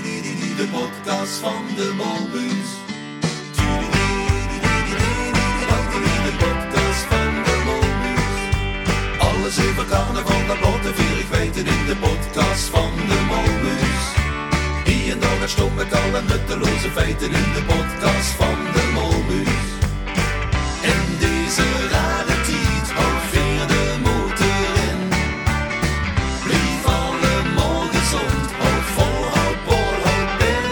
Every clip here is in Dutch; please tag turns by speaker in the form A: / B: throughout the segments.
A: de podcast van de Molbus. de podcast van de Molbus. Alles even carnaval naar Bottenvier, ik weet het in de podcast van de Molbus. Wie en dan gaat stom met alle nutteloze feiten in de podcast van de Molbus. En deze rare tiet alweer de motor in. Blijf alle morgen zond, houd vol, houd bol, houd ben.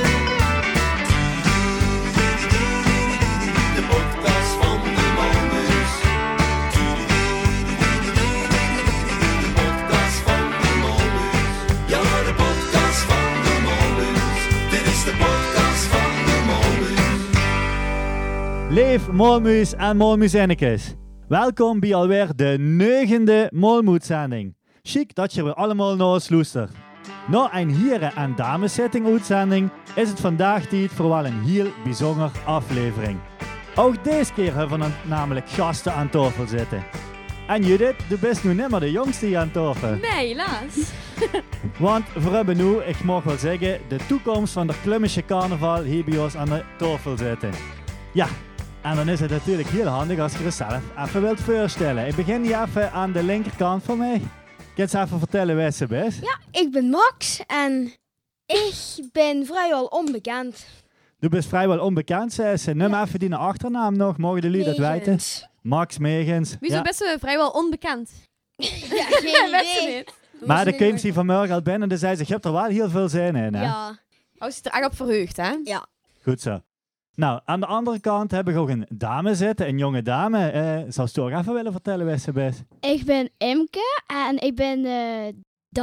A: De podcast van de Molbus. De podcast van de Molbus. Ja, de podcast van de Molbus. Dit is de podcast van de Molbus.
B: Leef Molmuis en Molmuizinnekes. Welkom bij alweer de negende Molmoedzending. Chic dat je weer allemaal naar ons luistert. Na een heren- en dameszitting-uitzending is het vandaag tijd voor wel een heel bijzonder aflevering. Ook deze keer hebben we namelijk gasten aan tafel zitten. En Judith, je bent nu nimmer de jongste hier aan tafel.
C: Nee, helaas.
B: Want we hebben nu, ik mag wel zeggen, de toekomst van de Klummische carnaval hier bij ons aan de tafel zitten. Ja, en dan is het natuurlijk heel handig als je jezelf even wilt voorstellen. Ik begin hier even aan de linkerkant van mij. Ik eens even vertellen wie ze is.
D: Ik ben Max en ik ben vrijwel onbekend.
B: Je bent vrijwel onbekend, zei ze. Noem even die achternaam nog, mogen jullie dat weten?
D: Wegens.
B: Max Megens.
C: Wie is
B: Ja.
C: best wel vrijwel onbekend.
D: Ja, geen
C: Best
D: idee.
C: niet.
B: Maar de kwam ze vanmorgen al binnen en zei ze, je hebt er wel heel veel zin in. Hè?
D: Ja.
C: Oh, ze is er echt op verheugd, hè?
B: Goed zo. Nou, aan de andere kant hebben we ook een dame zitten, een jonge dame. Eh zou ze ook even willen vertellen wie ze is?
E: Ik ben Imke en ik ben eh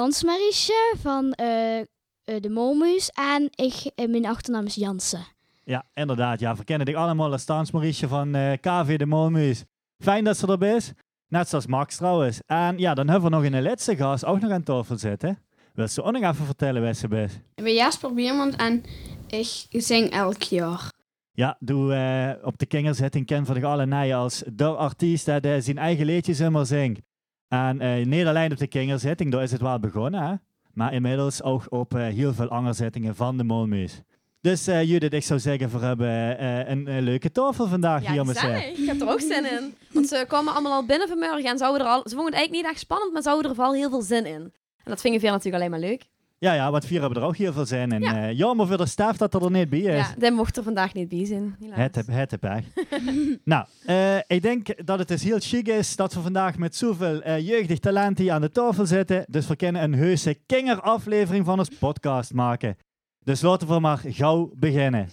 E: dansmarisje van eh, eh, de Molmuus. En ik, eh, mijn achternaam is Jansen.
B: Ja, inderdaad. Ja, we kennen dich allemaal als Stans Maurice van eh, KV de Molmuis. Fijn dat ze er is. Net zoals Max trouwens. En ja, dan hebben we nog een laatste gast ook nog aan tafel zitten. Wil ze ook nog even vertellen wie ze is?
F: Ik ben Jasper Bierman en ik zing elk jaar.
B: Ja, doe eh, op de kingerzitting ken van de alle nijen als de artiest dat eh, zijn eigen liedjes immer zingt. En eh niet alleen op de kingerzitting, daar is het wel begonnen, hè? maar inmiddels ook op eh, heel veel andere zittingen van de Molmuis. Dus eh, Judith, ik zou zeggen, we hebben eh, een, eh, leuke tafel vandaag hier met ze.
C: gezellig. Ik heb er ook zin in. Want ze kwamen allemaal al binnen vanmorgen en zouden er al, ze vonden het eigenlijk niet echt spannend, maar ze hadden er vooral heel veel zin in. En dat vingen veel natuurlijk alleen maar leuk.
B: Ja, ja, want vier hebben er ook heel veel zin in.
C: Ja.
B: Ja. jammer voor de staf dat er er niet bij is.
C: Ja, dat mocht er vandaag niet bij zijn. helaas.
B: Het, heb- het heb ik. nou, eh, ik denk dat het dus heel chic is dat we vandaag met zoveel eh, jeugdig talent hier aan de tafel zitten. Dus we kunnen een heuse kinger-aflevering van ons podcast maken. Dus laten we maar gauw beginnen.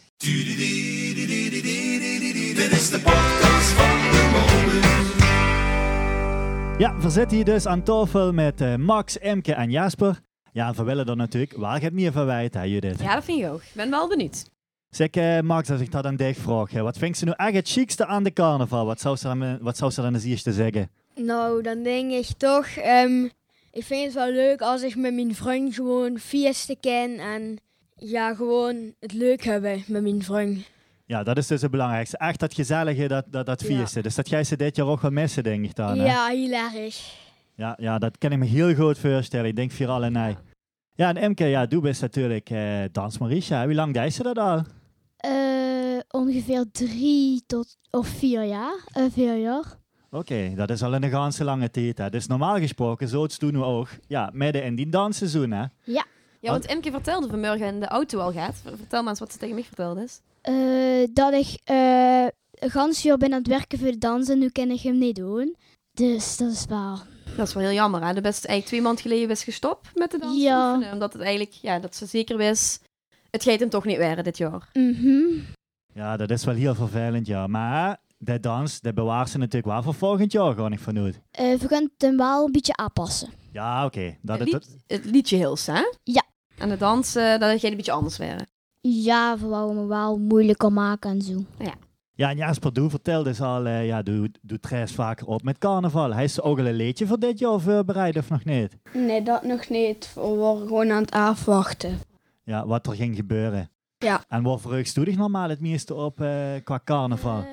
A: Dit is de podcast van de Molbus.
B: Ja, we zitten hier dus aan tafel met eh, Max, Emke en Jasper. Ja, we willen er natuurlijk wel het meer van weten, hè, Judith.
C: Ja, dat vind ik ook. Ik ben wel benieuwd.
B: Zeg, eh, Max, als ik dat aan dich vraag, hè, wat vindt ze nu echt het chicste aan de carnaval? Wat zou ze dan, wat zou ze dan als eerste zeggen?
D: Nou, dan denk ik toch, ehm, ik vind het wel leuk als ik met mijn vriend gewoon fiesten ken en ja, gewoon het leuk hebben met mijn vriend.
B: Ja, dat is dus het belangrijkste. Echt dat gezellige, dat, dat, dat
D: Ja.
B: feesten. Dus dat jij ze dit jaar ook wel missen, denk ik dan. hè?
D: ja, heel erg.
B: Ja, ja, dat kan ik me heel goed voorstellen. Ik denk vier en nee. Ja, en Emke, ja, du bent natuurlijk eh Dans Marisha. Hoe lang deed ze dat al?
E: Eh, ongeveer drie tot of vier jaar. Eh, vier jaar.
B: Oké, dat is al een ganse lange tijd. Hè. Dus normaal gesproken, zo doen we ook. Ja, midden in die dansseizoen, hè.
C: Ja, want Imke vertelde vanmorgen in de auto al gaat. Vertel maar eens wat ze tegen mij vertelde is.
E: Eh, dat ik eh een gans jaar ben aan het werken voor de dansen. Nu kan ik hem niet doen. Dus dat is waar.
C: Dat is wel heel jammer, hè? De best eigenlijk twee maanden geleden was gestopt met de dans.
E: Ja.
C: oefenen, Omdat het eigenlijk, ja, dat ze zeker wist, het gaat hem toch niet werden dit jaar.
E: Mhm.
B: Ja, dat is wel heel vervelend, ja. Maar de dans, dat bewaart ze natuurlijk wel voor volgend jaar, gewoon ik vanuit.
E: Eh, we kunnen het hem wel een beetje aanpassen.
B: Ja, oké. Dat
C: het,
B: het-
C: lied, het liedje Hills, hè?
E: Ja.
C: En de dansen, dat ging een beetje anders werden.
E: Ja, we wouden hem wel moeilijker maken en zo.
B: Ja, en Jasper Doe vertelde dus al, eh, ja, doe, doe Tres vaker op met carnaval. Hij is ook al een leedje voor dit jaar voorbereid, of nog niet?
F: Nee, dat nog niet. We waren gewoon aan het afwachten.
B: Ja, wat er ging gebeuren.
F: Ja.
B: En wat vreugst doe je normaal het meeste op eh, qua carnaval?
D: Ehm,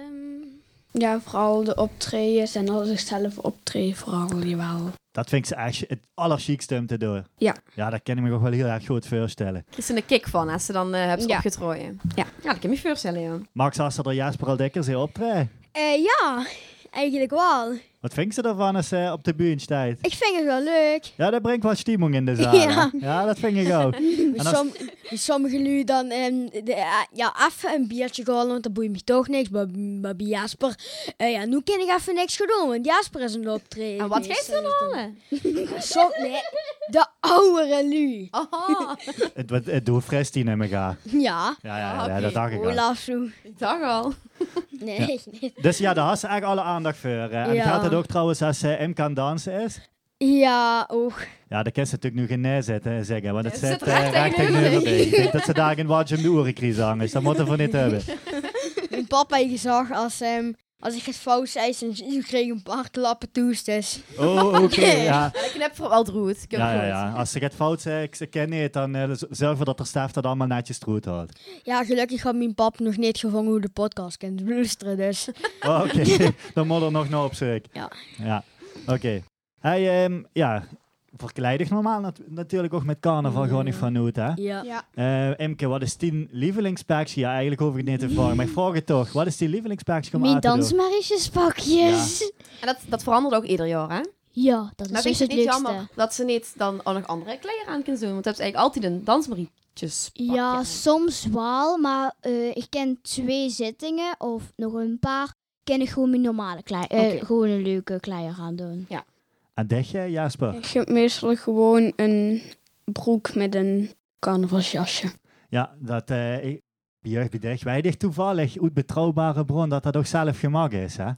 F: Ja, vooral de optredens en als ik zelf optreed, vooral jawel.
B: Dat vind ik ze echt het allerchiekste om te doen.
F: Ja.
B: Ja, dat kan ik me toch wel heel erg goed voorstellen.
C: Er is een kick van als ze dan eh hebt
F: Ja.
C: opgetrooien.
F: Ja.
C: Ja, dat kan je me voorstellen, ja.
B: Max, als ze er Jasper al Dekker ze optreden,
D: Eh, ja, eigenlijk wel.
B: wat vind je ervan als ze op de bühne staat?
D: Ik vind het wel leuk.
B: Ja, dat brengt wat stimmung in de zaal. hè?
D: Ja.
B: ja dat vind ik ook.
D: Met
B: En als-
D: som- met sommige lui dan ehm, de, eh, ja, even een biertje gehaald, want dat boeit me toch niks. Maar, maar bij Jasper, eh, ja, nu kan ik even niks gaan doen, want Jasper is een optreden.
C: En wat geeft ze dan halen?
D: Som, nee, de oudere lui.
C: Oh,
B: Het, het, het doet fris die nemen ga.
D: Ja.
B: Ja, ja,
C: Ah,
B: ja,
C: oké.
B: dat dacht ik al.
D: Olaf zo.
C: ik dacht al.
D: Nee,
B: Ja.
D: nee.
B: Dus ja, daar had ze eigenlijk alle aandacht voor. hè. En
D: Ja.
B: gaat dat ook trouwens als ze M kan dansen is?
D: Ja, oh. ook.
B: Ja, dat kan ze natuurlijk nu geen nee zetten, zeggen, want het
C: Nee, ze
B: zit
C: zit
B: eh,
C: recht
B: recht
C: tegen
B: tegenover
C: de
B: de Ik denk dat ze daar geen watje om de orenkries hangen, dus dat moeten we niet hebben.
D: Mijn papa heeft gezag als, ehm, als ik het fout zei, dan kreeg ik een paar klappen toes. Dus
B: Oh, oké, ja.
C: Ik knip vooral het roet. Ik heb
B: Ja,
C: het
B: ja,
C: roet.
B: ja. Als ze het fout zei, ik ze ken het, dan eh, z- zorgen we dat er staaf dat allemaal netjes troet houdt.
D: ja, gelukkig had mijn pap nog niet gevangen hoe de podcast kunt luisteren. Dus
B: Oh, oké, dan moet er nog naar op zoek.
D: Ja.
B: Ja, oké. Hey, ehm, ja, verkleidig normaal nat- natuurlijk ook met carnaval gewoon niet van uit, hè?
D: ja.
B: Eh, Emke, wat is tien lievelingspaakje? Ja, eigenlijk hoef ik het niet te vragen, maar ik vraag het toch. Wat is die lievelingspaakje om aan
E: Mijn
B: te doen?
E: dansmarisjespakjes. Ja.
C: En dat, dat verandert ook ieder jaar, hè?
E: dat is
C: Maar vind
E: dus
C: je
E: het
C: het niet
E: leukste.
C: jammer dat ze niet dan ook nog andere kleren aan kunnen doen? Want dan hebben ze eigenlijk altijd een dansmarietjes.
E: Ja, soms wel, maar eh, ik ken twee zittingen of nog een paar. Ken ik gewoon mijn normale klei, eh,
C: Oké.
E: gewoon een leuke kleier gaan doen.
B: Aan jij, Ah, Jasper?
F: Ik heb meestal gewoon een broek met een carnavalsjasje.
B: Ja, dat eh ik- bij jeugdbedrijf weinig toevallig uit betrouwbare bron dat dat ook zelf gemaakt is. Hè?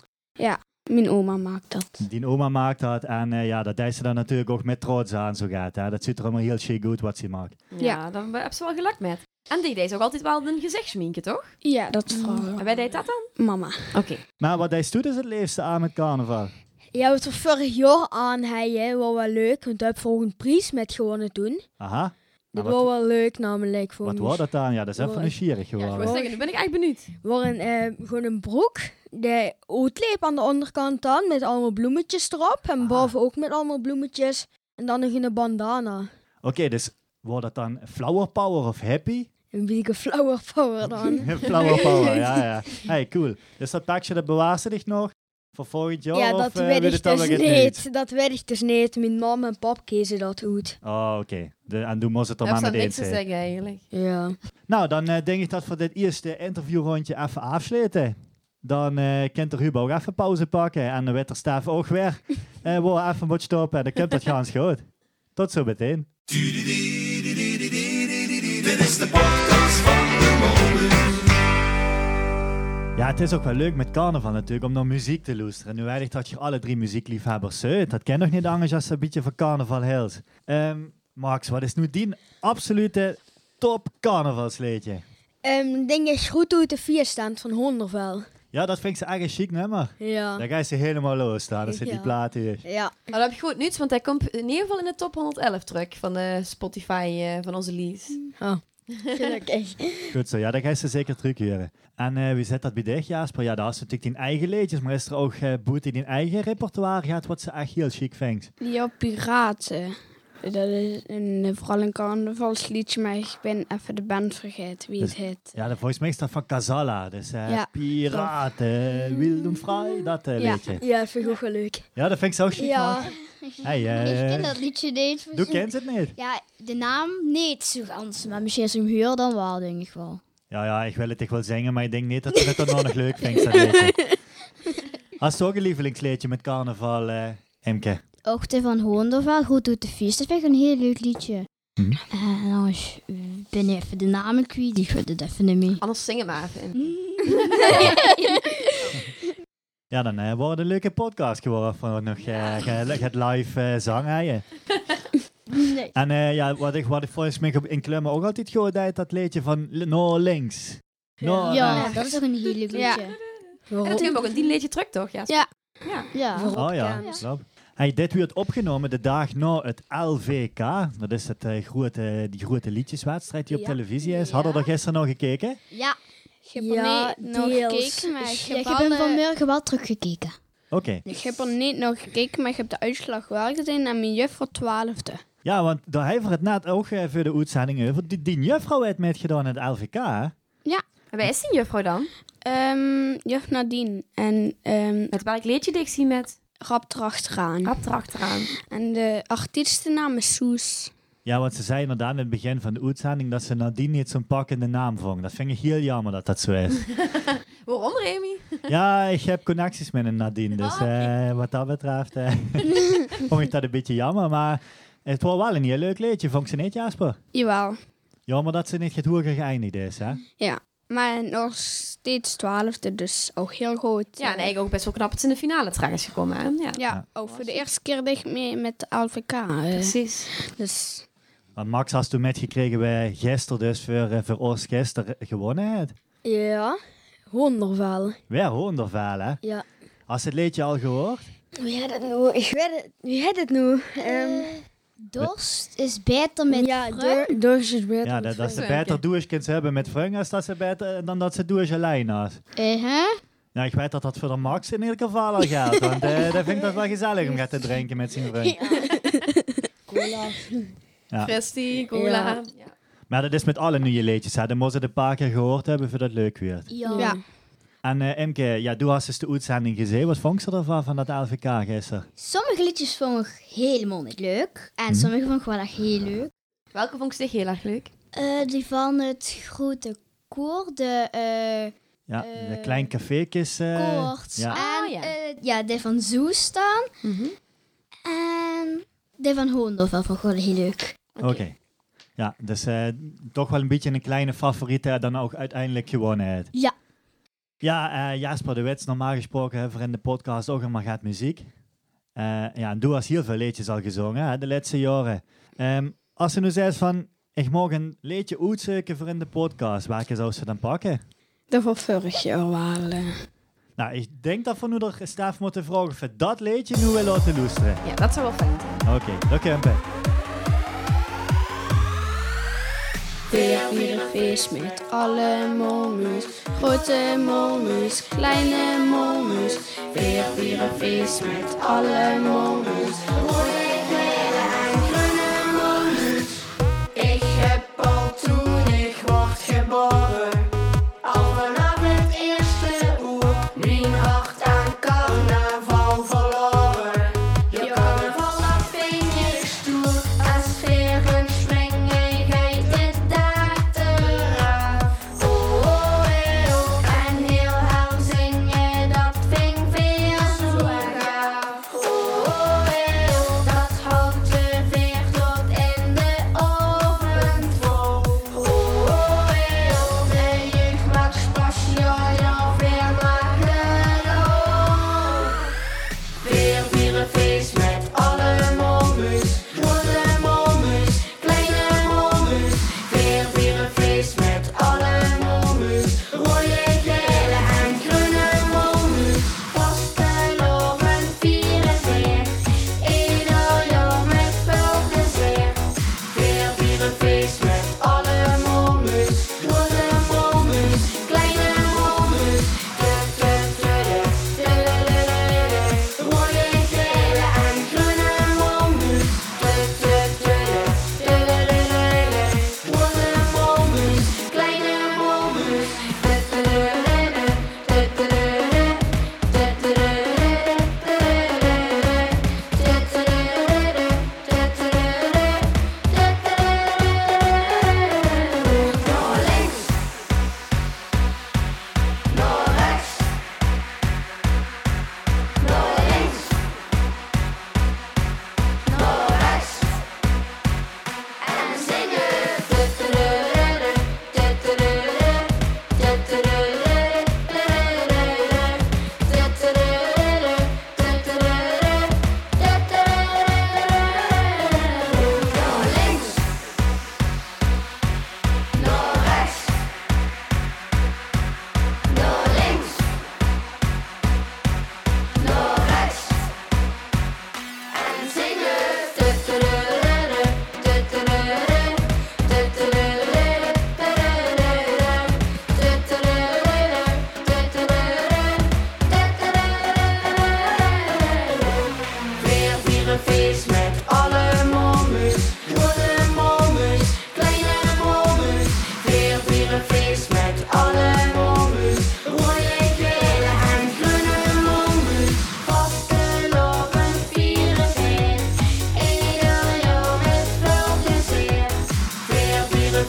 F: Mijn oma maakt dat.
B: Die oma maakt dat en eh, ja, dat deed ze dan natuurlijk ook met trots aan zo gaat. Hè? Dat ziet er allemaal heel chic uit wat ze maakt.
C: Ja, daar hebben ze wel geluk met. En die deed ook altijd wel een gezichtsminkje, toch?
F: Ja, dat vooral.
C: En wij deed dat dan?
F: Mama.
C: Oké.
B: Maar wat deed ze dus het liefste aan met carnaval?
D: Ja, wat er vorig jaar aan hij, hè, was wel leuk, want hij heeft volgend prijs met gewonnen toen.
B: Aha.
D: Dat
B: Nou,
D: was
B: wat
D: wel leuk namelijk voor
B: wat
D: ons.
B: was dat dan? Ja, dat is even
D: Wat-
B: nieuwsgierig
C: Ja, ik
B: geworden.
C: wou zeggen, nu ben ik echt benieuwd.
D: Waar een, eh, gewoon een broek, de ootleep aan de onderkant dan, met allemaal bloemetjes erop. En
B: Ah.
D: boven ook met allemaal bloemetjes. En dan nog een bandana.
B: Oké, dus wordt dat dan flower power of happy?
D: Een beetje flower power dan.
B: flower power, ja, ja. Hey, cool. Dus dat pakje, dat bewaart ze zich nog voor volgend jaar?
D: ja,
B: of,
D: dat
B: eh,
D: weet
B: weet
D: ik
B: het dan
D: dus
B: nog
D: niet.
B: het
D: Dat weet ik dus niet. Mijn mam en pap kiezen dat goed.
B: Oh, oké. De- En toen moest het er
C: Daar
B: maar
C: heb ze
B: met eens
C: niks te
B: zijn.
C: zeggen, eigenlijk.
D: Ja.
B: Nou, dan eh, denk ik dat we dit eerste interviewrondje even afsluiten. Dan eh kent er Hugo ook even pauze pakken en de Witterstaaf ook weer. En we even een beetje stoppen en dan komt dat gans goed. Tot zo meteen.
A: Dit is de podcast van de Molens.
B: Ja, het is ook wel leuk met carnaval natuurlijk om naar muziek te luisteren. Nu weet ik dat je alle drie muziekliefhebbers zijn. Dat ken nog niet anders als ze een beetje van carnaval hield. Ehm, Max, wat is nu die absolute top carnavalsleedje?
D: Ehm denk je goed hoe de vier staat van Hondervel.
B: Ja, dat vind ik ze echt een chic nummer.
D: Ja.
B: Daar ga je ze helemaal los staan. Dan zit die
D: Ja.
B: plaat hier.
D: Ja.
C: Maar dat heb je goed nieuws, want hij komt in ieder geval in de top 111 terug van de Spotify eh, van onze Lies.
D: Gelukkig.
B: Goed zo, ja, dat ga je ze zeker terugkeren. En eh, wie zet dat bij dich, Jasper? Ja, daar is natuurlijk die eigen leedjes, maar is er ook eh Boet die die eigen repertoire gaat, wat ze echt heel chic vindt?
F: Ja, Piraten. Dat is een, vooral een carnavalsliedje, maar ik ben even de band vergeten wie het heet.
B: Ja, de, volgens mij is dat van Casala, dus eh,
F: Ja.
B: Piraten, wild en vrij, dat eh,
F: Ja.
B: leedje.
D: Ja, dat vind ik ook wel leuk.
B: Ja, dat vind ik zo chic,
D: Ja.
B: man. Hey,
E: ik
B: eh,
E: ken dat liedje niet.
B: Doe kent het niet?
E: Ja, de naam niet zo gans, maar misschien als ik hem huur dan wel, denk ik wel.
B: Ja, ja, ik wil het echt wel zingen, maar ik denk niet dat ze het dan nog leuk vindt, dat leedje. Als toch een lievelingsleedje met carnaval, eh Emke?
E: Ook de van Hoendervel, Goed doet de feest, dat vind ik een heel leuk liedje. Eh,
B: Hm.
E: En als ik ben even de namen kwijt, ik weet het even niet meer.
C: Anders zingen we even in.
B: Ja, dan eh, wordt het een leuke podcast geworden van nog eh, ge- het live eh zangen. hè.
E: Nee.
B: En eh, ja, wat ik, wat ik volgens mij in Klemmen ook altijd goed deed, dat liedje van l- No Links. No
E: Ja,
B: Links.
E: dat is ook een heel leuk liedje.
F: Ja.
C: En dat hebben we ook een die leedje terug, toch? Oh. Ja.
F: Ja.
E: Ja.
D: Waarom?
B: Oh ja,
E: Rotterdams.
B: klopt. Hey, dit werd opgenomen de dag na het LVK. Dat is het, eh, grote, die grote liedjeswedstrijd die op
E: Ja.
B: televisie is. Hadden we er gisteren nog gekeken?
E: Ja.
F: Ik heb
D: Ja,
F: er niet nog
D: deels.
F: gekeken, maar ik
E: Ja,
F: heb,
E: ik
F: wel
E: heb hem
F: de-
E: vanmorgen wel teruggekeken.
B: Oké.
F: Ik heb er niet nog gekeken, maar ik heb de uitslag wel gezien en mijn juf voor twaalfde.
B: Ja, want daar hebben we het net ook eh, voor de uitzending over. Die, die juffrouw heeft meegedaan in het LVK. hè?
C: En Wie is die juffrouw dan?
F: Ehm, juf Nadine en ehm
C: Met welk liedje dicht zien met?
F: Rap Trachtraan.
C: Rap erachteraan.
F: En de artiestennaam is Soes.
B: Ja, want ze zei inderdaad in het begin van de uitzending dat ze nadien niet zo'n pakkende naam vond. Dat vind ik heel jammer dat dat zo is.
C: Waarom, Remy?
B: ja, ik heb connecties met een Nadine, dus
C: Ah, oké.
B: eh, wat dat betreft eh, vond ik dat een beetje jammer. Maar het was wel een heel leuk liedje, vond ze niet, Jasper?
F: Jawel.
B: Jammer dat ze niet het hoger geëindigd is, hè?
F: Maar nog steeds twaalfde, dus ook heel goed.
C: Ja, nee, ik ook best wel knap dat ze in de finale terecht is gekomen. Hè? Ja.
F: Ja, ook voor de eerste keer dicht mee met de LVK. eh,
C: Precies.
F: Dus
B: Want Max had toen metgekregen bij gisteren dus voor, eh, voor ons gisteren gewonnen heeft.
D: Ja, wonderval.
B: Weer Hoendervel, hè?
D: Ja.
B: Had ze het liedje al gehoord?
D: Wie had het nu? Ik weet het. Wie had het nu?
F: Ehm,
E: Eh, dorst is beter met
D: ja,
E: fruit.
D: door, door is het beter.
B: Ja, dat, dat ze
C: Frank,
B: beter douchekens hebben met Frank als dat ze beter, eh, dan dat ze douche alleen had.
E: Eh, hè?
B: Nou, ik weet dat dat voor de Max in ieder geval al gaat. Want eh dat vind ik dat wel gezellig om gaat te drinken met zijn vriend. Ja.
C: Christy, Cola. Ja.
B: Maar dat is met alle nieuwe liedjes. Hè. Dan moeten ze het een paar keer gehoord hebben voor dat leuk weer.
E: Ja.
F: ja,
B: En eh Imke, ja, toen had ze de uitzending gezien. Wat vond ze ervan van dat LVK gisteren?
E: Sommige liedjes vond ik helemaal niet leuk. En sommige vond ik wel echt heel leuk.
C: Welke vond ik zich heel erg leuk?
E: Eh, die van het grote koor, de eh
B: Ja,
E: Eh,
B: een klein cafeekjes. eh,
E: koorts.
B: ja.
E: En
C: Ah, ja.
E: eh, ja, die van Zoes dan.
C: Mhm.
E: En die van Hoendorvel vond ik wel heel leuk.
B: Oké. Ja, dus eh, toch wel een beetje een kleine favoriet eh, dan ook uiteindelijk gewonnen heeft.
E: Ja.
B: Ja, eh, Jasper de Wits, normaal gesproken hebben we in de podcast ook maar gaat muziek. Eh, ja, en Doe has heel veel liedjes al gezongen hè, de laatste jaren. Ehm, als ze nu zegt van, ik mag een liedje uitzoeken voor in de podcast, welke zou ze dan pakken?
F: de van vorig jaar wel. eh.
B: Nou, ik denk dat we nu de staaf moeten vragen of we dat liedje nu willen laten luisteren.
C: Ja, dat zou wel fijn zijn.
B: Oké, dat kunnen we.
F: Weer weer een feest met alle molmuus. Grote molmuus, kleine molmuus. Weer weer een feest met alle molmuus. Rode kleren en groene molmuus. Ik heb al toen ik word geboren. Al vanaf het eerste uur. Mijn hart aan carnaval verloren. Je carnaval dat vind ik stoer. Als veren springen gij de dag eraf. Oh, oh, eh, oh. En heel hel zing je dat vind ik veel zo gaaf. Oh, oh, eh, oh.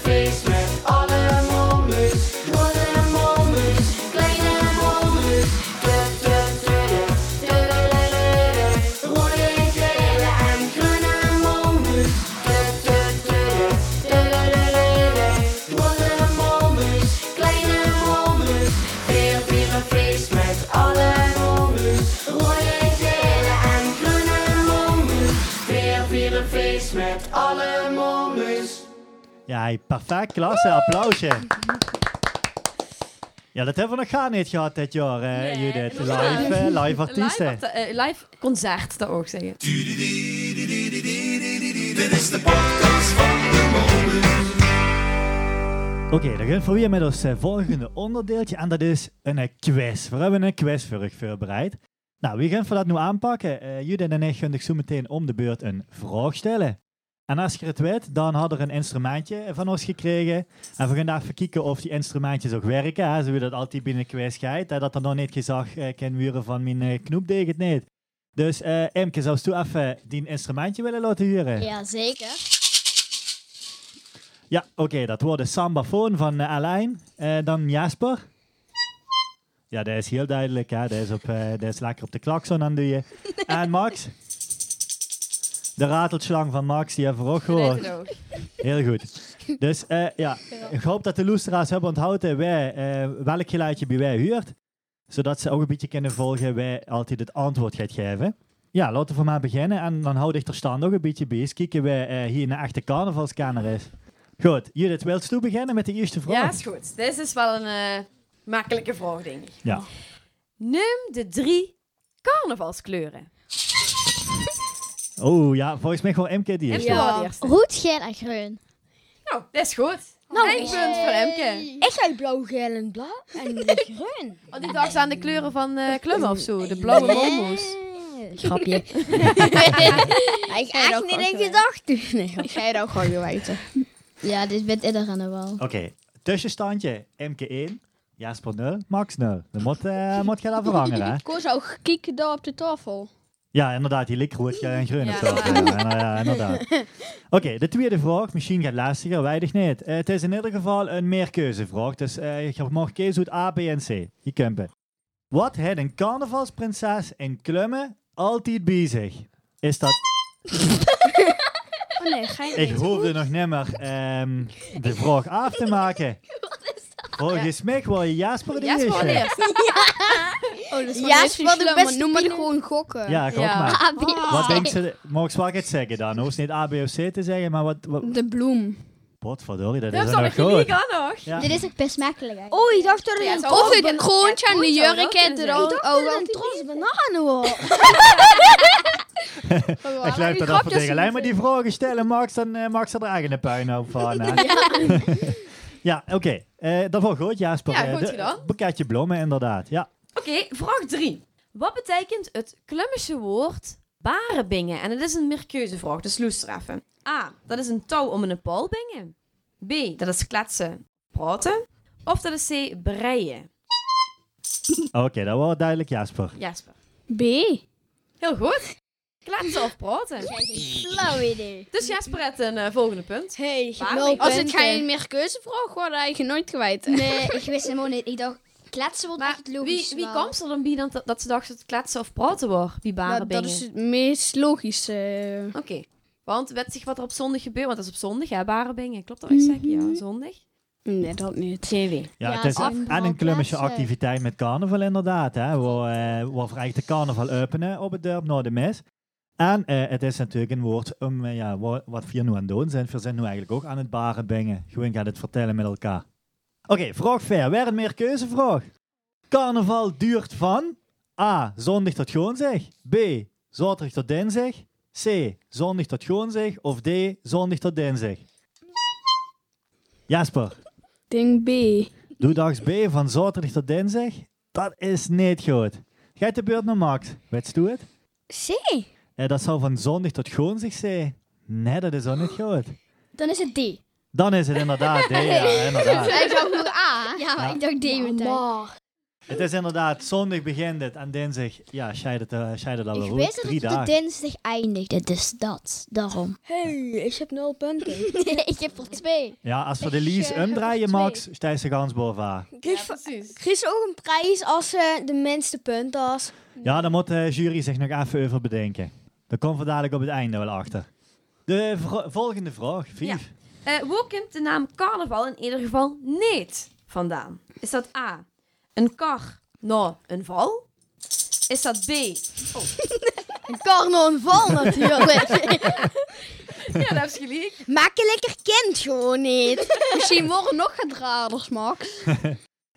F: feest met alle molmus. Grote molmus, kleine molmus. Kleur, kleur, kleuren, kleuren, Rode kleuren en groene molmus. Kleur, kleur, kleuren, kleuren, Grote molmus, kleine molmus. Weer, weer een feest met alle molmus. Rode kleuren en groene molmus. Weer, weer een feest met alle molmus.
B: Ja, hey, perfect. Klasse. Applausje. Ja, dat hebben we nog gar niet gehad dit jaar, hè, Judith.
C: inderdaad.
B: Live, eh, live
C: Live,
B: artiesten.
C: act- eh, live concert, dat ook zeggen.
A: Dit is de podcast van de Molus.
B: Oké, dan gaan we weer met ons eh, volgende onderdeeltje. En dat is een eh, quiz. We hebben een quiz voor u voorbereid. Nou, wie gaan we dat nu aanpakken? Eh Judith en ik gaan zo meteen om de beurt een vraag stellen. En als je het weet, dan hadden we een instrumentje van ons gekregen. En we gaan daar even kijken of die instrumentjes ook werken. Hè, zoals dat altijd binnen quiz gaat. Hè, dat er nog niet gezag eh kan worden van mijn eh, knoop deed het niet. Dus eh Imke, zou je even die instrumentje willen laten huren?
E: Ja, zeker.
B: Ja, oké, dat wordt de sambafoon van eh, Alain. Eh, dan Jasper. Ja, dat is heel duidelijk. Hè? Dat, is op, eh, dat is lekker op de klakson aan doe je. En Max. De ratelslang van Max, die hebben we ook
C: Weet
B: gehoord.
C: het ook.
B: Heel goed. Dus eh, ja, ik hoop dat de luisteraars hebben onthouden wij, eh, welk geluidje bij wij huurt. Zodat ze ook een beetje kunnen volgen wij altijd het antwoord gaat geven. Ja, laten we voor mij beginnen. En dan houd ik er staan nog een beetje bij. Eens kijken wij eh, hier naar echte carnavalscanner is. Goed, Judith, wilt u beginnen met de eerste
C: Ja,
B: vraag?
C: is goed. Dit is wel een eh, makkelijke vraag, denk ik.
B: Ja.
C: Neem de drie carnavalskleuren.
B: Oh ja, volgens mij gewoon MK die
C: Emke
B: is.
C: ja.
E: Ja.
C: wel de eerste.
E: Rood, geel en groen.
C: Nou, dat is goed.
D: Nou,
C: Eindpunt voor Emke.
D: Ik zei blauw, geel en blauw en groen.
C: Want die dacht aan de kleuren van eh Klum of zo. De blauwe molmoes.
D: Grapje. ik
F: Jij
D: echt
F: ook
D: niet
F: wel
D: in
F: geweest.
D: gedachten. Nee, grapje.
F: Ga je dan gewoon weten?
E: Ja, dit bent iedereen er wel.
B: Oké, tussenstandje. MK 1, Jasper 0, Max 0. Dan moet, eh moet je daar vervangen, hè?
F: Koos ook kieken daar op de tafel.
B: Ja, inderdaad, die likroert en groen of
C: Ja,
B: zo. Ja, nou ja, inderdaad. Oké, de tweede vraag, misschien gaat lastiger, weinig niet. Eh, het is in ieder geval een meerkeuzevraag, dus eh, je mag kiezen uit A, B en C. Je kunt het. Wat heeft een carnavalsprinses in Klummen altijd bij zich? Is dat...
F: Oh nee, ga je
B: Ik hoefde nog nimmer ehm, de vraag af te maken. Volgens mij wil je Jasper de
C: Jasper
B: eerste.
C: allereerst.
F: Oh, dat is
D: Ja, is wel de beste
F: Noem maar
D: tien.
F: gewoon gokken.
B: Ja, klopt
C: Ja. Ah.
B: maar.
E: A, B,
B: Wat
E: C.
B: denk ze... Mag ik zwak het zeggen dan? Hoeft niet A, B of C te zeggen, maar wat... wat
F: De bloem.
B: Potverdorie, dat
C: Dat
B: is
C: is al
B: nog
C: nog
B: goed.
C: geliek aan nog.
B: Ja.
E: Ah. Dit is ook best makkelijk eigenlijk.
D: Oh, ik dacht dat er
C: Ja,
D: een
C: zo
D: trots-
C: ook.
F: Of ik het kroontje en de
C: Ja, groentje
F: jurk
C: zou
F: en
C: dat
F: de
C: kunnen
F: rand. Oh,
D: een
F: dan
D: trots bananen hoor.
B: Ik grijp dat af en tegen. Alleen maar die vragen stellen, Max, dan eh, Max er eigen een puinhoop van. hè. ja, oké. Eh, dat was goed, Jasper.
C: Ja,
B: Eh,
C: goed
B: de-
C: gedaan.
B: Boeketje bloemen, inderdaad. Ja.
C: Oké, vraag 3. Wat betekent het Klummische woord barenbingen? En het is een meerkeuzevraag, dus luister even. A. Dat is een touw om in een paal bingen. B. Dat is kletsen, praten. Of dat is C. Breien.
B: Oké, dat was duidelijk, Jasper.
C: Jasper.
F: B.
C: Heel goed. Kletsen of praten.
E: Flauw idee.
C: Dus Jasper heeft een eh, volgende punt.
D: Hey,
C: Waarom?
F: Als het geen meer keuzevraag wordt, had je nooit kwijt.
E: Nee, ik wist helemaal niet. Ik dacht, kletsen wordt
C: Maar
E: echt
C: wie,
E: logisch.
C: wie
E: wel.
C: komt er dan bij dat, dat ze dacht dat het kletsen of praten wordt? Die
F: Nou,
C: barenbingen.
F: dat is het meest logische.
C: Oké. Want weet zich wat er op zondag gebeurt? Want dat is op zondag, hè, barenbingen. Klopt dat wat ik zeg?
B: Mhm.
C: Ja, zondag.
F: Nee, dat niet.
C: Geen idee.
B: Ja,
E: Ja,
B: het is
E: ze hebben
B: en
E: wel
B: een klummische
E: plaatsen.
B: activiteit met carnaval, inderdaad. Hè, waar, eh, waar we eigenlijk de carnaval openen op het dorp naar de mes. En eh, het is natuurlijk een woord om, eh, ja, wa- wat we hier nu aan het doen zijn. We zijn nu eigenlijk ook aan het baren bingen. Gewoon gaat het vertellen met elkaar. Oké, vraag ver. Weer een meerkeuzevraag. Carnaval duurt van A. Zondag tot Goonzeg. B. Zaterdag tot dinsdag. C. Zondag tot Goonzeg. Of D. Zondag tot dinsdag. Jasper.
F: Denk B.
B: Doedags B van zaterdag tot dinsdag? Dat is niet goed. Gaat de beurt naar Max. Weet je het?
D: C.
B: Eh, dat zou van zondag tot goonsdag zijn. Nee, dat is ook niet goed.
E: Dan is het D.
B: Dan is het inderdaad D, ja, inderdaad.
E: Hij zou voor A. Ja, maar ik dacht D meteen.
B: Het is inderdaad, zondag begint het en dinsdag, ja, scheiden het, eh, scheiden dat
E: Ik
B: wel
E: weet
B: goed.
E: dat
B: Drie
E: het op de
B: dagen.
E: dinsdag eindigde, dus dat. Daarom.
D: hey, ik heb nul punten.
E: ik heb er twee.
B: Ja, als we de
E: Ik,
B: lease
E: eh,
B: omdraaien,
E: twee.
B: Max, stijgt ze gans bovenaan.
D: Chris,
C: Ja, precies.
D: Chris ook een prijs als ze de minste punten had.
B: Ja, dan moet de jury zich nog even over bedenken. Dat komt we dadelijk op het einde wel achter. De vro- volgende vraag, Vief.
C: Eh waar komt de naam carnaval in ieder geval niet vandaan? Is dat A. Een kar, nou, een val? Is dat B.
D: Een karno een val natuurlijk.
C: Ja, dat is gelijk.
D: Maak je lekker kind gewoon niet.
F: Misschien worden nog gedraarders, Max.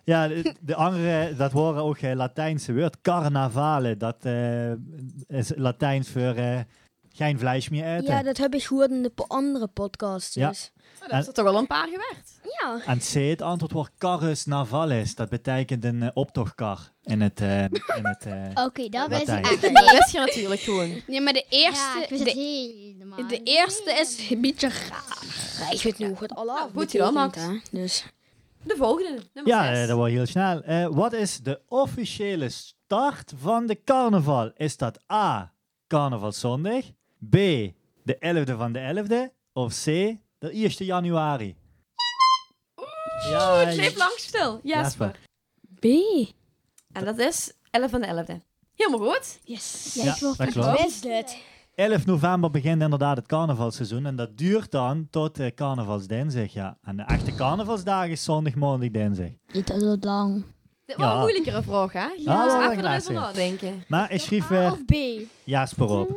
B: Ja, de, de andere, dat horen ook eh, Latijnse woord. Carnavale, dat eh, is Latijns voor eh, geen vlees meer eten.
D: Ja, dat heb ik gehoord in de po- andere podcasts.
B: Ja.
D: Dus.
C: Maar dat Oh, is er toch wel een paar gewerkt.
D: Ja.
B: En C, het antwoordwoord carus navalis. Dat betekent een eh, optochtkar in het... eh, in het eh,
E: Oké, Oh, dat weet
B: Latijn.
E: ik echt
C: Dat
E: niet.
C: is je natuurlijk gewoon.
F: Nee, maar de
E: Ja,
F: eerste,
E: ik wist het
F: de,
E: helemaal
F: de
E: niet.
F: eerste is een beetje raar.
D: Ja, ik weet nu hoe het allemaal
C: Nou, goed gedaan, Max.
D: betekent, hè. Dus.
C: De volgende, nummer
B: Ja,
C: zes.
B: eh, dat wordt heel snel. Eh, wat is de officiële start van de carnaval? Is dat A, carnavalzondag, B, de 11e van de 11e, of C, de 1e januari?
C: Oeh, het bleef lang stil. Jasper.
B: Jasper.
F: B.
C: En dat is 11 van de 11e. Helemaal goed.
F: Yes.
E: Ja,
B: Ja,
E: ik wil
B: dat
E: het
B: klopt.
E: wel.
D: Is het?
B: 11 november begint inderdaad het carnavalseizoen en dat duurt dan tot eh, carnavalsdinsdag, ja. En de echte carnavalsdag is zondag, maandag, dinsdag.
E: Ja, Dat is lang.
C: Dit was
B: Ja. Ah,
C: een moeilijkere vraag, hè? Je
B: wel
C: moest
B: een
C: even
B: glaasje.
C: erover nadenken.
B: Maar ik schreef
E: A
B: eh,
E: of B?
B: Jasper op.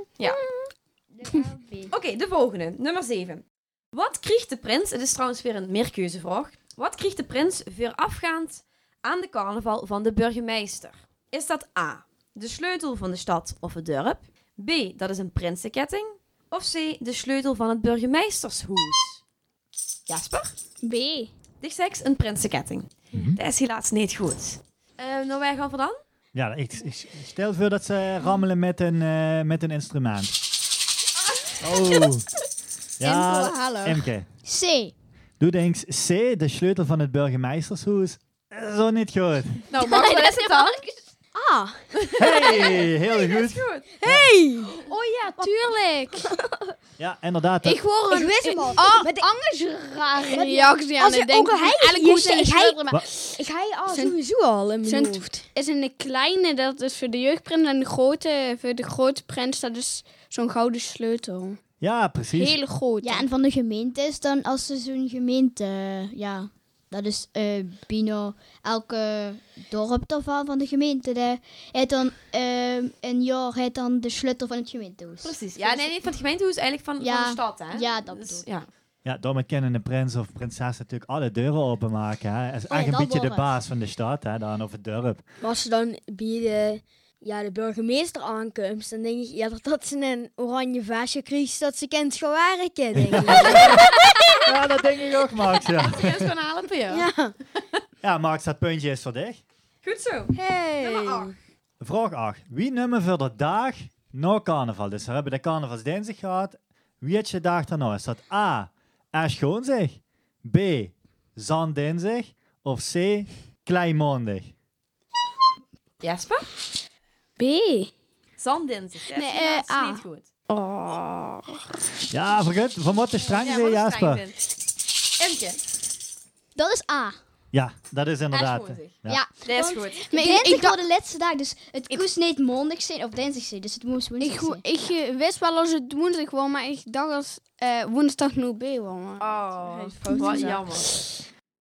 C: Oké, de volgende, nummer 7. Wat kreeg de prins, het is trouwens weer een meerkeuzevraag. Wat kreeg de prins voorafgaand aan de carnaval van de burgemeester? Is dat A, de sleutel van de stad of het dorp? B, dat is een prinsenketting? Of C, de sleutel van het burgemeestershoes? Jasper?
F: B.
C: Dichtseks, een prinsenketting. Dat is helaas niet goed. Eh, nou, wij gaan vandaan.
B: Ja, ik, ik stel voor dat ze rammelen met een, eh, met een instrument. Oh. Ja,
F: hallo.
B: Emke.
E: C.
B: Doe denks C, de sleutel van het burgemeestershoes. Zo niet goed.
C: Nou, Max, wat is het dan?
D: Ah.
B: Hey, heel goed.
F: Oh ja, tuurlijk.
B: Ja, inderdaad. dat-
F: Ik hoor een...
D: Ik wist hem al.
F: Oh,
D: Maar de-
F: anders rare reactie aan
D: als je
F: het denken.
D: ook hij
F: Eigenlijk
D: hier
F: moet ze
D: zegt,
F: een
D: hij-
F: sleutel, maar-
D: Ik ga je al
F: Zijn-
D: sowieso al in mijn
F: zijn-
D: hoofd.
F: is een kleine, dat is voor de jeugdprins. En de grote, voor de grote prins, dat is zo'n gouden sleutel.
B: Ja, precies.
F: Hele grote.
E: Ja, en van de gemeente is dan als ze zo'n gemeente, ja, dat is eh Bino, elke dorp daarvan van de gemeente, daar heet dan ehm een jaar heet dan de sleutel van het gemeentehuis.
C: Precies. Ja, nee, nee, van het gemeentehuis eigenlijk van,
E: Ja.
C: van de stad, hè?
E: Ja, dat bedoel
C: dus,
E: ik.
C: ja.
B: Ja, daarmee kennen de prins of prinses natuurlijk alle deuren openmaken. Hè. Hij is
E: ja,
B: echt een
E: dat
B: beetje de
E: wordt
B: baas van de stad, hè, dan, of het dorp.
D: Maar als ze dan bij de, ja, de burgemeester aankomt, dan denk ik eerder dat ze een oranje vaasje krijgt dat ze kent gaan werken. Denk ik.
B: Ja, dat denk ik ook, Max. Ja,
C: Dat is gewoon helpen, ja.
D: Ja.
B: ja Max, dat puntje is voor dich.
C: Goed zo.
D: Hey.
C: Nummer acht.
B: Vraag 8. Wie nummer voor de dag na carnaval? Dus we hebben de carnavalsdinsdag gehad. Wie had je dag daarna? Is dat A. Ashgoonzig? B. Zanddinsdag? Of C. Kleinmaandag?
C: Jasper?
F: B.
C: Zanddinsdag. Dat is
F: Nee, eh,
C: helaas
F: A.
C: niet goed.
F: Oh.
B: Ja, vergeet, we moeten streng
C: Ja,
B: zijn,
C: wat een
B: Jasper.
C: fijn vind. Emke,
E: Dat is A.
B: Ja, dat is inderdaad.
C: Ashgoonzig.
E: Ja.
C: dat is
E: Want
C: goed.
E: Maar
F: ik-
E: dinsdag
F: ik dacht-
E: voor de laatste dag, dus het koest niet maandag zijn of dinsdag zijn, dus het moest
F: Ik,
E: woensdag
F: ho-
E: zijn.
F: ik eh, wist wel als het woensdag was, maar ik dacht als eh, woensdag 0B was. maar-
D: Ah.
C: Oh,
F: fout
C: wat
F: gezegd.
C: jammer.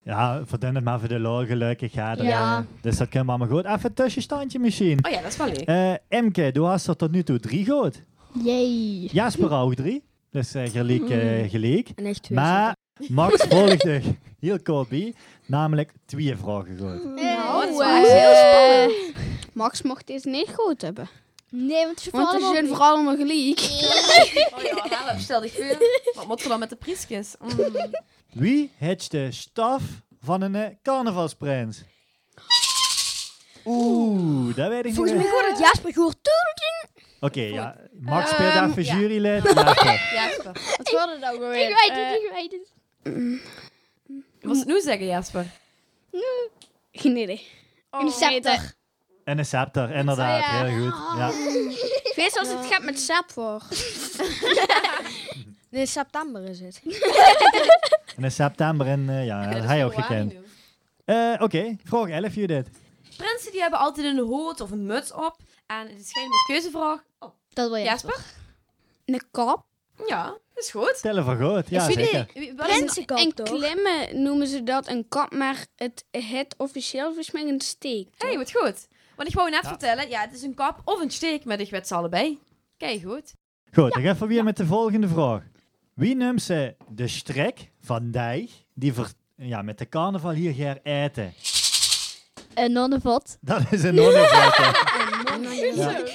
B: Ja, verdun het maar voor de lol, gelukkig. Ja. dat-
E: Ja.
B: Dus dat kunnen we allemaal goed. Even een tussenstandje misschien.
C: Oh ja, dat is wel leuk.
B: Eh Emke, du hast er tot nu toe drie goed.
E: Jee.
B: Jasper ook drie. Dus eh, gelijk, eh, gelijk.
D: En echt twee.
B: Maar Max volgt er heel kort bij, namelijk twee vragen goed.
E: Nou,
C: Oh, dat is wel
F: eh,
C: echt heel
F: Max mocht deze niet goed hebben.
E: Nee, want ze
F: Want er
E: vallen
F: zijn
E: op-
F: vooral nog gelijk.
C: Oh ja, help, stel die voor. Wat moet er dan met de priesjes? Mm.
B: Wie heeft de staf van een eh, carnavalsprins? Oeh, dat weet ik
D: Volgens
B: niet.
D: mij
B: echt.
D: hoort het Jasper gehoord.
B: Oké, ja. Max speelt
F: Ehm,
B: even
F: ja.
B: jurylid. Jasper.
C: Jasper.
F: Wat was het ook Eh,
E: Ik weet het, ik weet
D: Oh,
E: het.
C: Wat het nu zeggen, Jasper?
F: Genedig. Oh,
E: Een scepter.
F: weet
B: En een scepter, inderdaad.
F: Oh, ja.
B: Heel goed. Ja.
F: ik. Weet zoals het gaat met sap voor.
D: Nee, september is het.
B: En in september en eh, ja, dat had je ook gekend. Eh, Oké, vraag 11 Judith.
C: Prinsen die hebben altijd een hoed of een muts op. En het is geen keuzevraag. Oh,
E: Dat wil je.
C: Jasper?
F: Een kop.
C: Ja, is goed.
B: Tellen van goed. Ja,
F: Is jullie-
B: zeker.
C: Wie- wat is een-
D: Prinsenkop,
F: En
D: toch?
F: klimmen noemen ze dat een kop, maar het, het officieel volgens mij een steek.
C: hey, wat goed. Want ik wou net
B: Ja.
C: vertellen, ja, het is een kap of een steek, maar ik weet ze allebei. Kijk goed.
B: Goed, dan gaan we weer met de volgende vraag. Wie noemt ze de strek van dij die ver- ja, met de carnaval hier gaat eten?
E: Een nonnenvot.
B: Dat is een nonnenvletter.
C: Zo.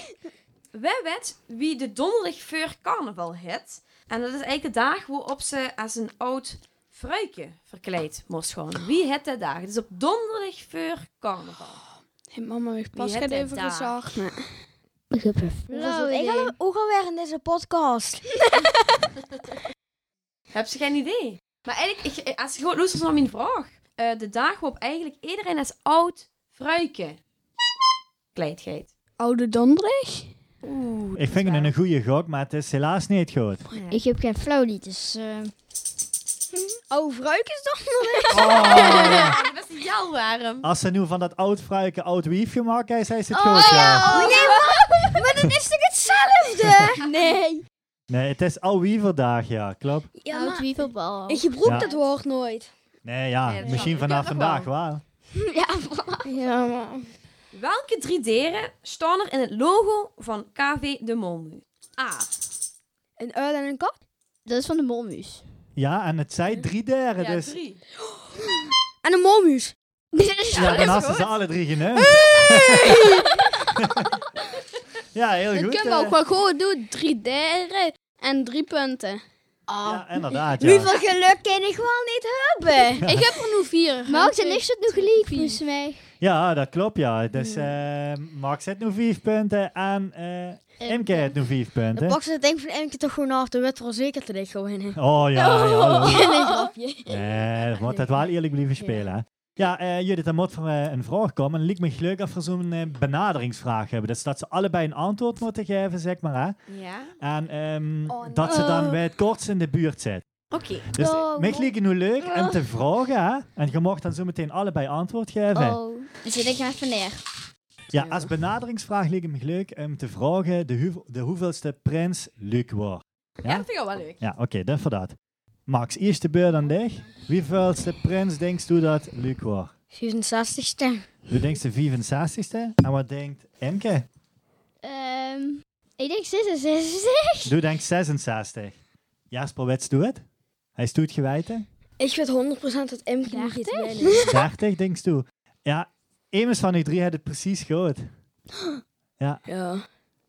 C: Wij weten wie de donderdag voor carnaval het. En dat is eigenlijk de dag waarop ze als een oud fruikje verkleed moest gaan. Wie het dat dag? Dus op donderdag voor carnaval.
F: Hey, mama heeft pas
C: hebt
F: gaat
C: het
F: even
C: daar?
F: gezorgd. maar-
E: Ik heb een
D: Hoe ik al weer in deze podcast?
C: Heb ze geen idee? Maar eigenlijk, ik, als je gewoon luistert naar mijn vraag. eh, de dag waarop eigenlijk iedereen als oud fruikje kleed gaat.
F: Oude donderdag?
C: Oeh,
B: Ik vind het een goede gok, maar het is helaas niet goed.
E: Ik heb geen flauw niet, dus... eh,
D: Oh, Vruik is dat?
C: Ja, Ah, dat was jou warm.
B: Oh. Als ze nu van dat oud fruiken oud wiefje maken, is het goed. Oh, Ja.
D: Oh,
E: Oh,
D: Nee, maar, maar dan is het hetzelfde?
E: nee.
B: Nee, het is oud wieverdag, ja, klopt.
D: Ja,
E: Oud
D: maar
E: wieverbal.
D: ik gebruik
B: Ja.
D: dat woord nooit.
B: Nee, ja,
C: Nee, dat
B: misschien
C: kan- dat
B: vanaf
C: kan nog
B: vandaag wel.
D: Ja, maar...
C: Welke drie deren staan er in het logo van KV De Molmu? A.
D: Een uil en een kat?
E: Dat is van de molmuus.
B: Ja, en het zijn drie derde,
C: Ja,
B: dus...
C: drie.
D: En een molmuus.
B: Ja,
C: dat
B: dan
C: is
B: hadden
C: goed.
B: ze alle drie genoemd. ja, heel
F: Dat
B: goed.
F: kunnen
B: eh.
F: we ook wel gewoon doen. Drie deren en drie punten.
B: Ja, inderdaad, ja.
D: Hoeveel geluk kan ik wel niet hebben?
F: Ik heb er nu vier.
E: Maar ook, dan is het nog geliefd, volgens mij.
B: Ja, dat klopt, ja. Dus eh Max heeft nu vijf punten en eh Imke heeft nu vijf
D: Dan
B: punten.
D: pak ze het denk ik van één keer toch gewoon af. Dan werd wel zeker dat ik gewoon in.
B: Oh ja, ja. hallo.
D: Een grapje.
B: Nee, dat moet dat wel eerlijk blijven spelen. hè. Ja, eh, Judith, dan moet van een vraag komen. En het lijkt me leuk als we zo'n eh, benaderingsvraag hebben. Dus dat ze allebei een antwoord moeten geven, zeg maar. Hè?
C: Ja.
B: En ehm,
D: Oh, nee.
B: dat ze dan bij het kortst in de buurt zit.
C: Oké.
B: Dus
E: Oh,
B: mij lijkt het nu leuk om te vragen. Hè? En je mag dan zo meteen allebei antwoord geven.
E: Oh, dan zit ik maar even neer.
B: Ja, als benaderingsvraag lijkt het me leuk om te vragen de, hoeve- de hoeveelste prins Luc was.
C: Ja, dat vind ik wel leuk.
B: Ja, oké, dat voor dat. Max, eerste beurt aan dich. Wieveelste prins denkst u dat Luc was?
D: 64ste.
B: U denkt de 64ste. En wat denkt Emke?
E: Ehm, ik denk 66.
B: Doe denkt 66. Jasper, wat doet het? Hij stoet geweten.
D: Ik weet 100% dat M niet iets winnen.
B: 30, denkst u. Ja, Emus van die drie had het precies goed.
D: Ja.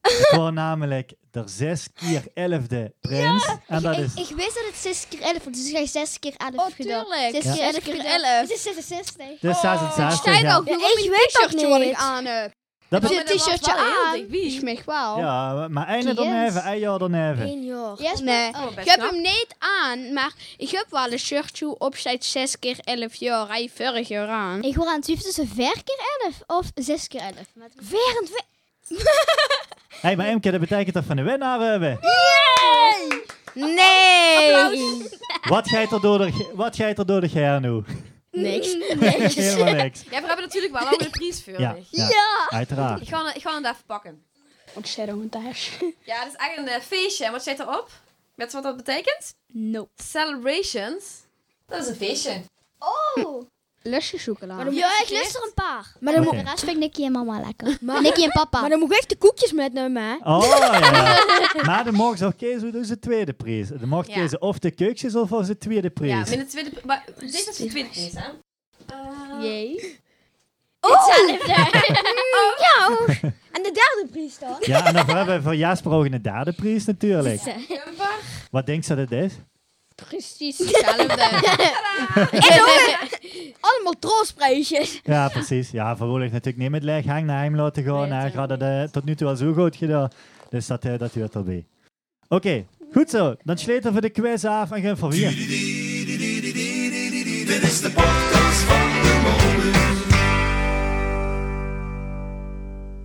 B: Het was namelijk de 6 keer 11e prins. En dat
E: ik,
B: is...
E: ik wist dat het 6 keer 11 was, dus ik heb 6 keer 11
F: Oh,
E: gedaan.
F: tuurlijk.
E: 6
F: Ja.
E: keer 11
F: keer
E: gedaan.
F: 11.
E: Het is 66.
B: De
F: Ik sta
B: 66,
F: je
B: ja.
F: ook nog
D: Ja,
F: op mijn
D: ik weet dat
F: t-shirtje wat ik
D: niet.
F: aan heb.
B: Dat
E: Zit
B: is-
E: het
C: Maar dat was
E: t-shirtje
C: wel heel
E: aan?
F: Ik
C: dichtbij.
F: mij wel.
B: Ja, maar einde dan
E: Yes.
B: even, één jaar dan even.
D: Eén jaar.
E: Jasper?
F: Nee.
E: Oh,
C: Oh,
F: Ik
C: best
F: heb
C: knap.
F: hem niet aan, maar ik heb wel een shirtje op zijn 6 keer 11 jaar. Hij heeft vorig jaar aan.
E: Ik hoor aan het twijfelen tussen 4 keer 11 of 6 keer 11. Oh. Maar het-
B: Hé, hey, maar Emke, dat betekent dat we een winnaar hebben.
D: Nee!
B: Wat gaat er door de, wat gaat er door de geer nu?
D: Niks.
B: Helemaal niks.
C: Ja, we hebben natuurlijk wel al een prijs voor.
B: Ja,
C: Ik
B: ja, uiteraard.
C: ga, ik ga hem even pakken.
F: Ik zet hem thuis.
C: Ja, dat is echt een eh, feestje. En wat staat erop? Weet je wat dat betekent?
E: Nope.
C: Celebrations. Dat is een feestje.
E: Oh!
F: Lusje chocola.
E: Ja, ik lust er een paar.
D: Maar dan,
B: Oké.
E: De rest vind ik Nicky en mama lekker.
D: Maar-
E: Nicky en
D: moet, maar
E: papa.
D: dan moet ik echt de koekjes met naar mij.
B: Oh, ja. Maar dan mocht ze ook kiezen dus de tweede prijs. Dan mocht
C: Ja.
B: kiezen of de keukjes of als de tweede
C: Ja,
B: prijs.
C: maar in de tweede... Maar, dit is de tweede prijs, hè? Eh,
E: Jee.
D: En de derde prijs dan?
B: Ja, en dan hebben we voor Jasper ook een derde prijs natuurlijk.
C: November.
B: Wat denkt ze dat het is?
F: Precies hetzelfde.
D: Allemaal troostprijsjes.
B: Ja, precies. Ja, vervolgens natuurlijk niet met leg hang naar hem laten gaan. Hij had het eh, tot nu toe al zo goed gedaan. Dus dat, eh, dat hoort erbij. Oké, goed zo. Dan sleten we de quiz af en gaan voor hier.
A: Dit is de podcast van de Molens.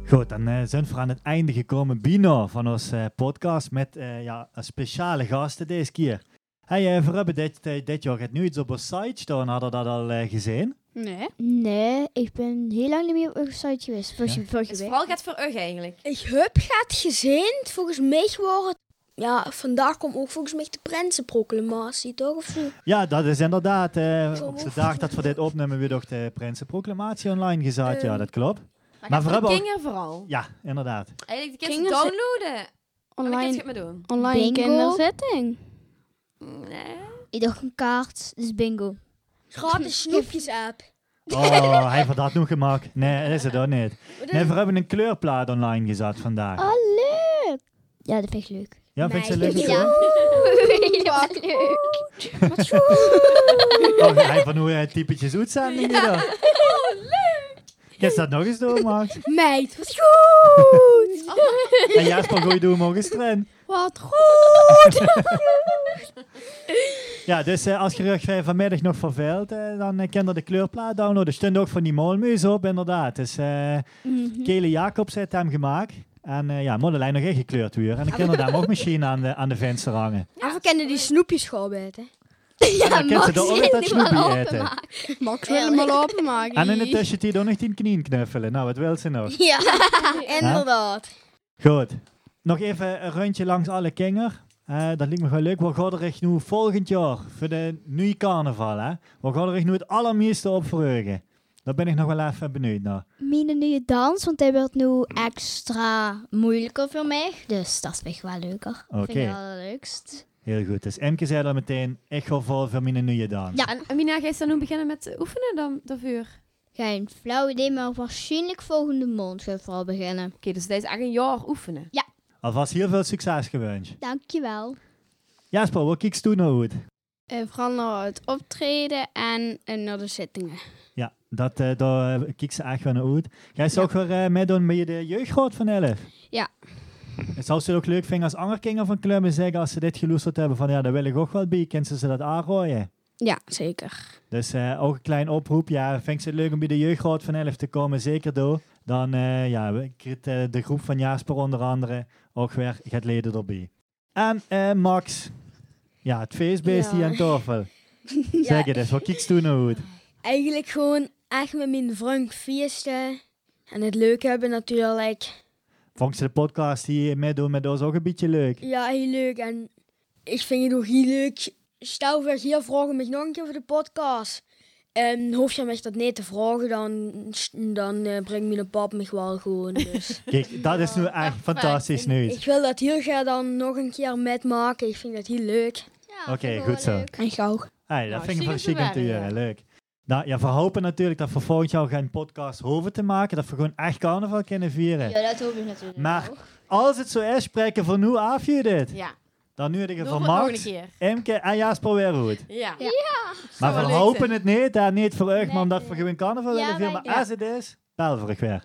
B: Goed, dan eh, zijn we aan het einde gekomen, Bino, van onze eh, podcast met eh, ja, een speciale gasten deze keer. Hey, eh, we hebben dit, eh, dit jaar gaat nu iets op onze site staan, hadden we dat al eh, gezien?
F: Nee.
E: Nee, ik ben heel lang niet meer op een site geweest. Volgens
B: Ja.
E: je
C: Het
E: vorige week.
C: Dus vooral gaat voor Ugg eigenlijk.
D: Ik heb gaat gezind, volgens mij geworden. Ja, vandaag komt ook volgens mij de Prensenproclamatie, toch? Of zo?
B: Ja, dat is inderdaad. eh,
D: Zo.
B: op de dag dat we dit opnemen, weer door de Prinsenproclamatie online gezet. Ja,
D: Ehm.
B: dat klopt.
C: Maar,
B: Maar
C: maar
B: we
C: voor
B: hebben
C: de
B: ook-
C: kinderen vooral.
B: Ja, inderdaad.
C: Eigenlijk de kinderen
F: Kinderen zijn-
C: downloaden. Online. En dan
F: Online,
C: maar doen.
F: online
E: Bingo.
F: kinderzetting.
C: Nee.
E: Ik dacht een kaart, dus bingo.
D: Gratis snoepjes app.
B: Oh, hij heeft dat nog gemaakt. Nee, dat is het ook niet. Nee, we hebben een kleurplaat online gezet vandaag.
D: Ah,
E: Oh, leuk! Ja, dat vind ik leuk.
B: ja, vind je het leuk?
D: meisje.
B: Nico?
E: Wat leuk!
B: Oh, hij van hoe eh, typetjes uitzendingen ja. Oh, leuk! Kan je dat nog eens doen, Max?
D: Meid, wat goed!
B: En Jasper, gooi doen nog eens erin.
F: Wat goed!
B: Ja, dus eh, als je rug eh, vanmiddag nog verveelt, eh, dan eh, kan je de kleurplaat downloaden. Er stond ook van die molmuis op, inderdaad. Dus eh Kele Jacobs heeft hem gemaakt. En eh, ja, Modelijn nog ingekleurd weer. En dan kan je hem ook misschien aan de, aan de venster hangen.
D: en we kennen die snoepjes gewoon hè?
E: Ja,
B: dan kan ze er ook dat snoepje eten.
F: Max wil hem wel openmaken.
B: En in de tussentijd ook nog tien knieën knuffelen. Nou, wat wil ze nog?
D: Ja, inderdaad.
B: Goed. Nog even een rondje langs alle kinger. Eh, dat lijkt me wel leuk. We gaan er echt nu volgend jaar voor de nieuwe carnaval. Hè? We gaan er echt nu het allermeeste op verheugen. Daar ben ik nog wel even benieuwd naar.
E: Mine nieuwe dans, want hij wordt nu extra moeilijker voor mij. Dus dat vind ik wel leuker.
B: Oké.
E: Vind ik wel het leukst.
B: Heel goed. Dus Emke zei al meteen, ik ga vol voor mijn nieuwe dans.
E: Ja.
C: En, en Mina, ga je dan nu beginnen met eh, oefenen dan, daarvoor? Oké,
E: Geen flauw idee, maar waarschijnlijk volgende maand gaan we vooral beginnen.
C: dus dat is echt een jaar oefenen.
B: Alvast heel veel succes gewenst.
E: Dankjewel.
B: Jasper, wat kijkt toen nou goed?
F: Eh, vooral naar het optreden en eh, naar de zittingen.
B: Ja, dat, eh daar eh, kijk ze echt wel naar uit. Jij zou ook weer eh, meedoen met de jeugdgroot van Elf?
F: Ja.
B: En zou ze het ook leuk vinden als andere kinderen van Klummen zeggen, als ze dit geloesterd hebben, van ja, daar wil ik ook wel bij, kunnen ze ze dat aanrooien?
F: Ja, zeker.
B: Dus eh, ook een klein oproep, ja, vind ze het leuk om bij de jeugdgroot van Elf te komen, zeker door. Dan eh ja, we- krijgt, eh, de groep van Jasper onder andere ook weer gaat leden erbij. En eh, Max, ja, het feestbeest
D: Ja.
B: hier aan tafel. Zeg het eens, wat kijkt toen nou uit?
D: Eigenlijk gewoon echt met mijn vriend feesten. En het leuk hebben natuurlijk.
B: Vond ze de podcast die meedoen met ons ook een beetje leuk?
D: Ja, heel leuk. En ik vind het ook heel leuk. Stel voor hier vragen me nog een keer voor de podcast. En hoef je mij dat niet te vragen, dan, dan eh, brengt mijn pap me wel gewoon. Dus.
B: Kijk, dat is nu echt fantastisch nieuws.
D: ik wil dat heel graag dan nog een keer metmaken. Ik vind dat heel leuk.
B: Oké, goed zo.
F: En gauw.
B: Hey, dat
G: Nou,
B: vind ik
G: zie
B: van
G: je ze
B: chic om te
G: waren,
B: horen,
G: ja.
B: leuk. Nou, ja, we hopen natuurlijk dat we volgend jaar geen podcast hoeven te maken. Dat we gewoon echt carnaval kunnen vieren.
E: Ja, dat hoop ik natuurlijk.
B: Maar-
E: wel.
B: Als het zo is, spreken we nu af je dit.
G: Ja,
B: Dan nu in ieder
G: nog,
B: geval
G: nog een
B: Max,
G: keer.
B: Emke en Jasper weer goed.
G: Ja.
E: Ja.
B: Maar
G: wel
B: we
G: leuk
B: hopen
G: zijn.
B: het niet, hè, niet voor euch, maar
E: Nee,
B: omdat we
E: nee.
B: gewoon carnaval
E: Ja,
B: willen vieren.
E: wij-
B: Maar als het is, pelverig weer.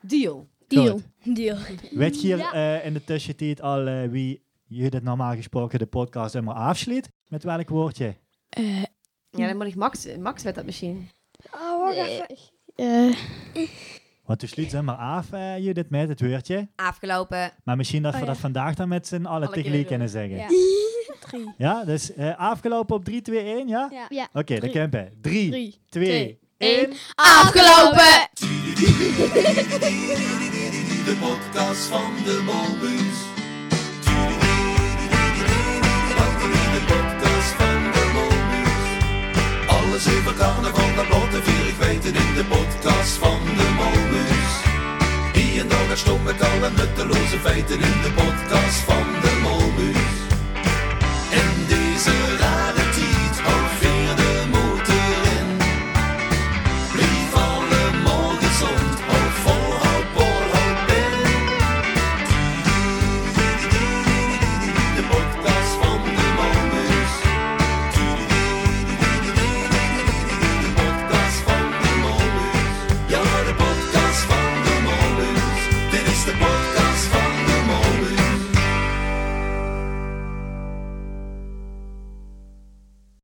G: Deal.
F: Deal.
B: Goed.
D: Deal.
B: Weet je hier
E: Ja.
B: eh, in de tussentijd al eh, wie jullie normaal gesproken de podcast helemaal afsluit? Met welk woordje?
F: Eh,
C: Ja, dan moet ik Max, Max weet dat misschien.
D: Oh, wacht even.
E: Eh,
B: Want toen sluit ze maar af, eh, Judith, met het woordje.
C: Afgelopen.
B: Maar misschien dat we
F: Oh, ja.
B: dat vandaag dan met z'n allen
G: Alle
B: tegelijk
G: keer
B: kunnen zeggen. Ja,
F: Ja. Drie.
B: dus eh, afgelopen op 3, 2, 1, ja?
F: Ja.
E: Ja.
B: Oké, dan kempen. we. 3,
F: Drie.
B: 2,
F: twee,
B: 1.
F: één. Afgelopen!
A: De podcast van de Molbus. De podcast van de Molbus. Alles even carnaval naar blote vier, ik weet het in de podcast van de Molbus. Hier en daar daar stom met alle nutteloze feiten in de podcast van de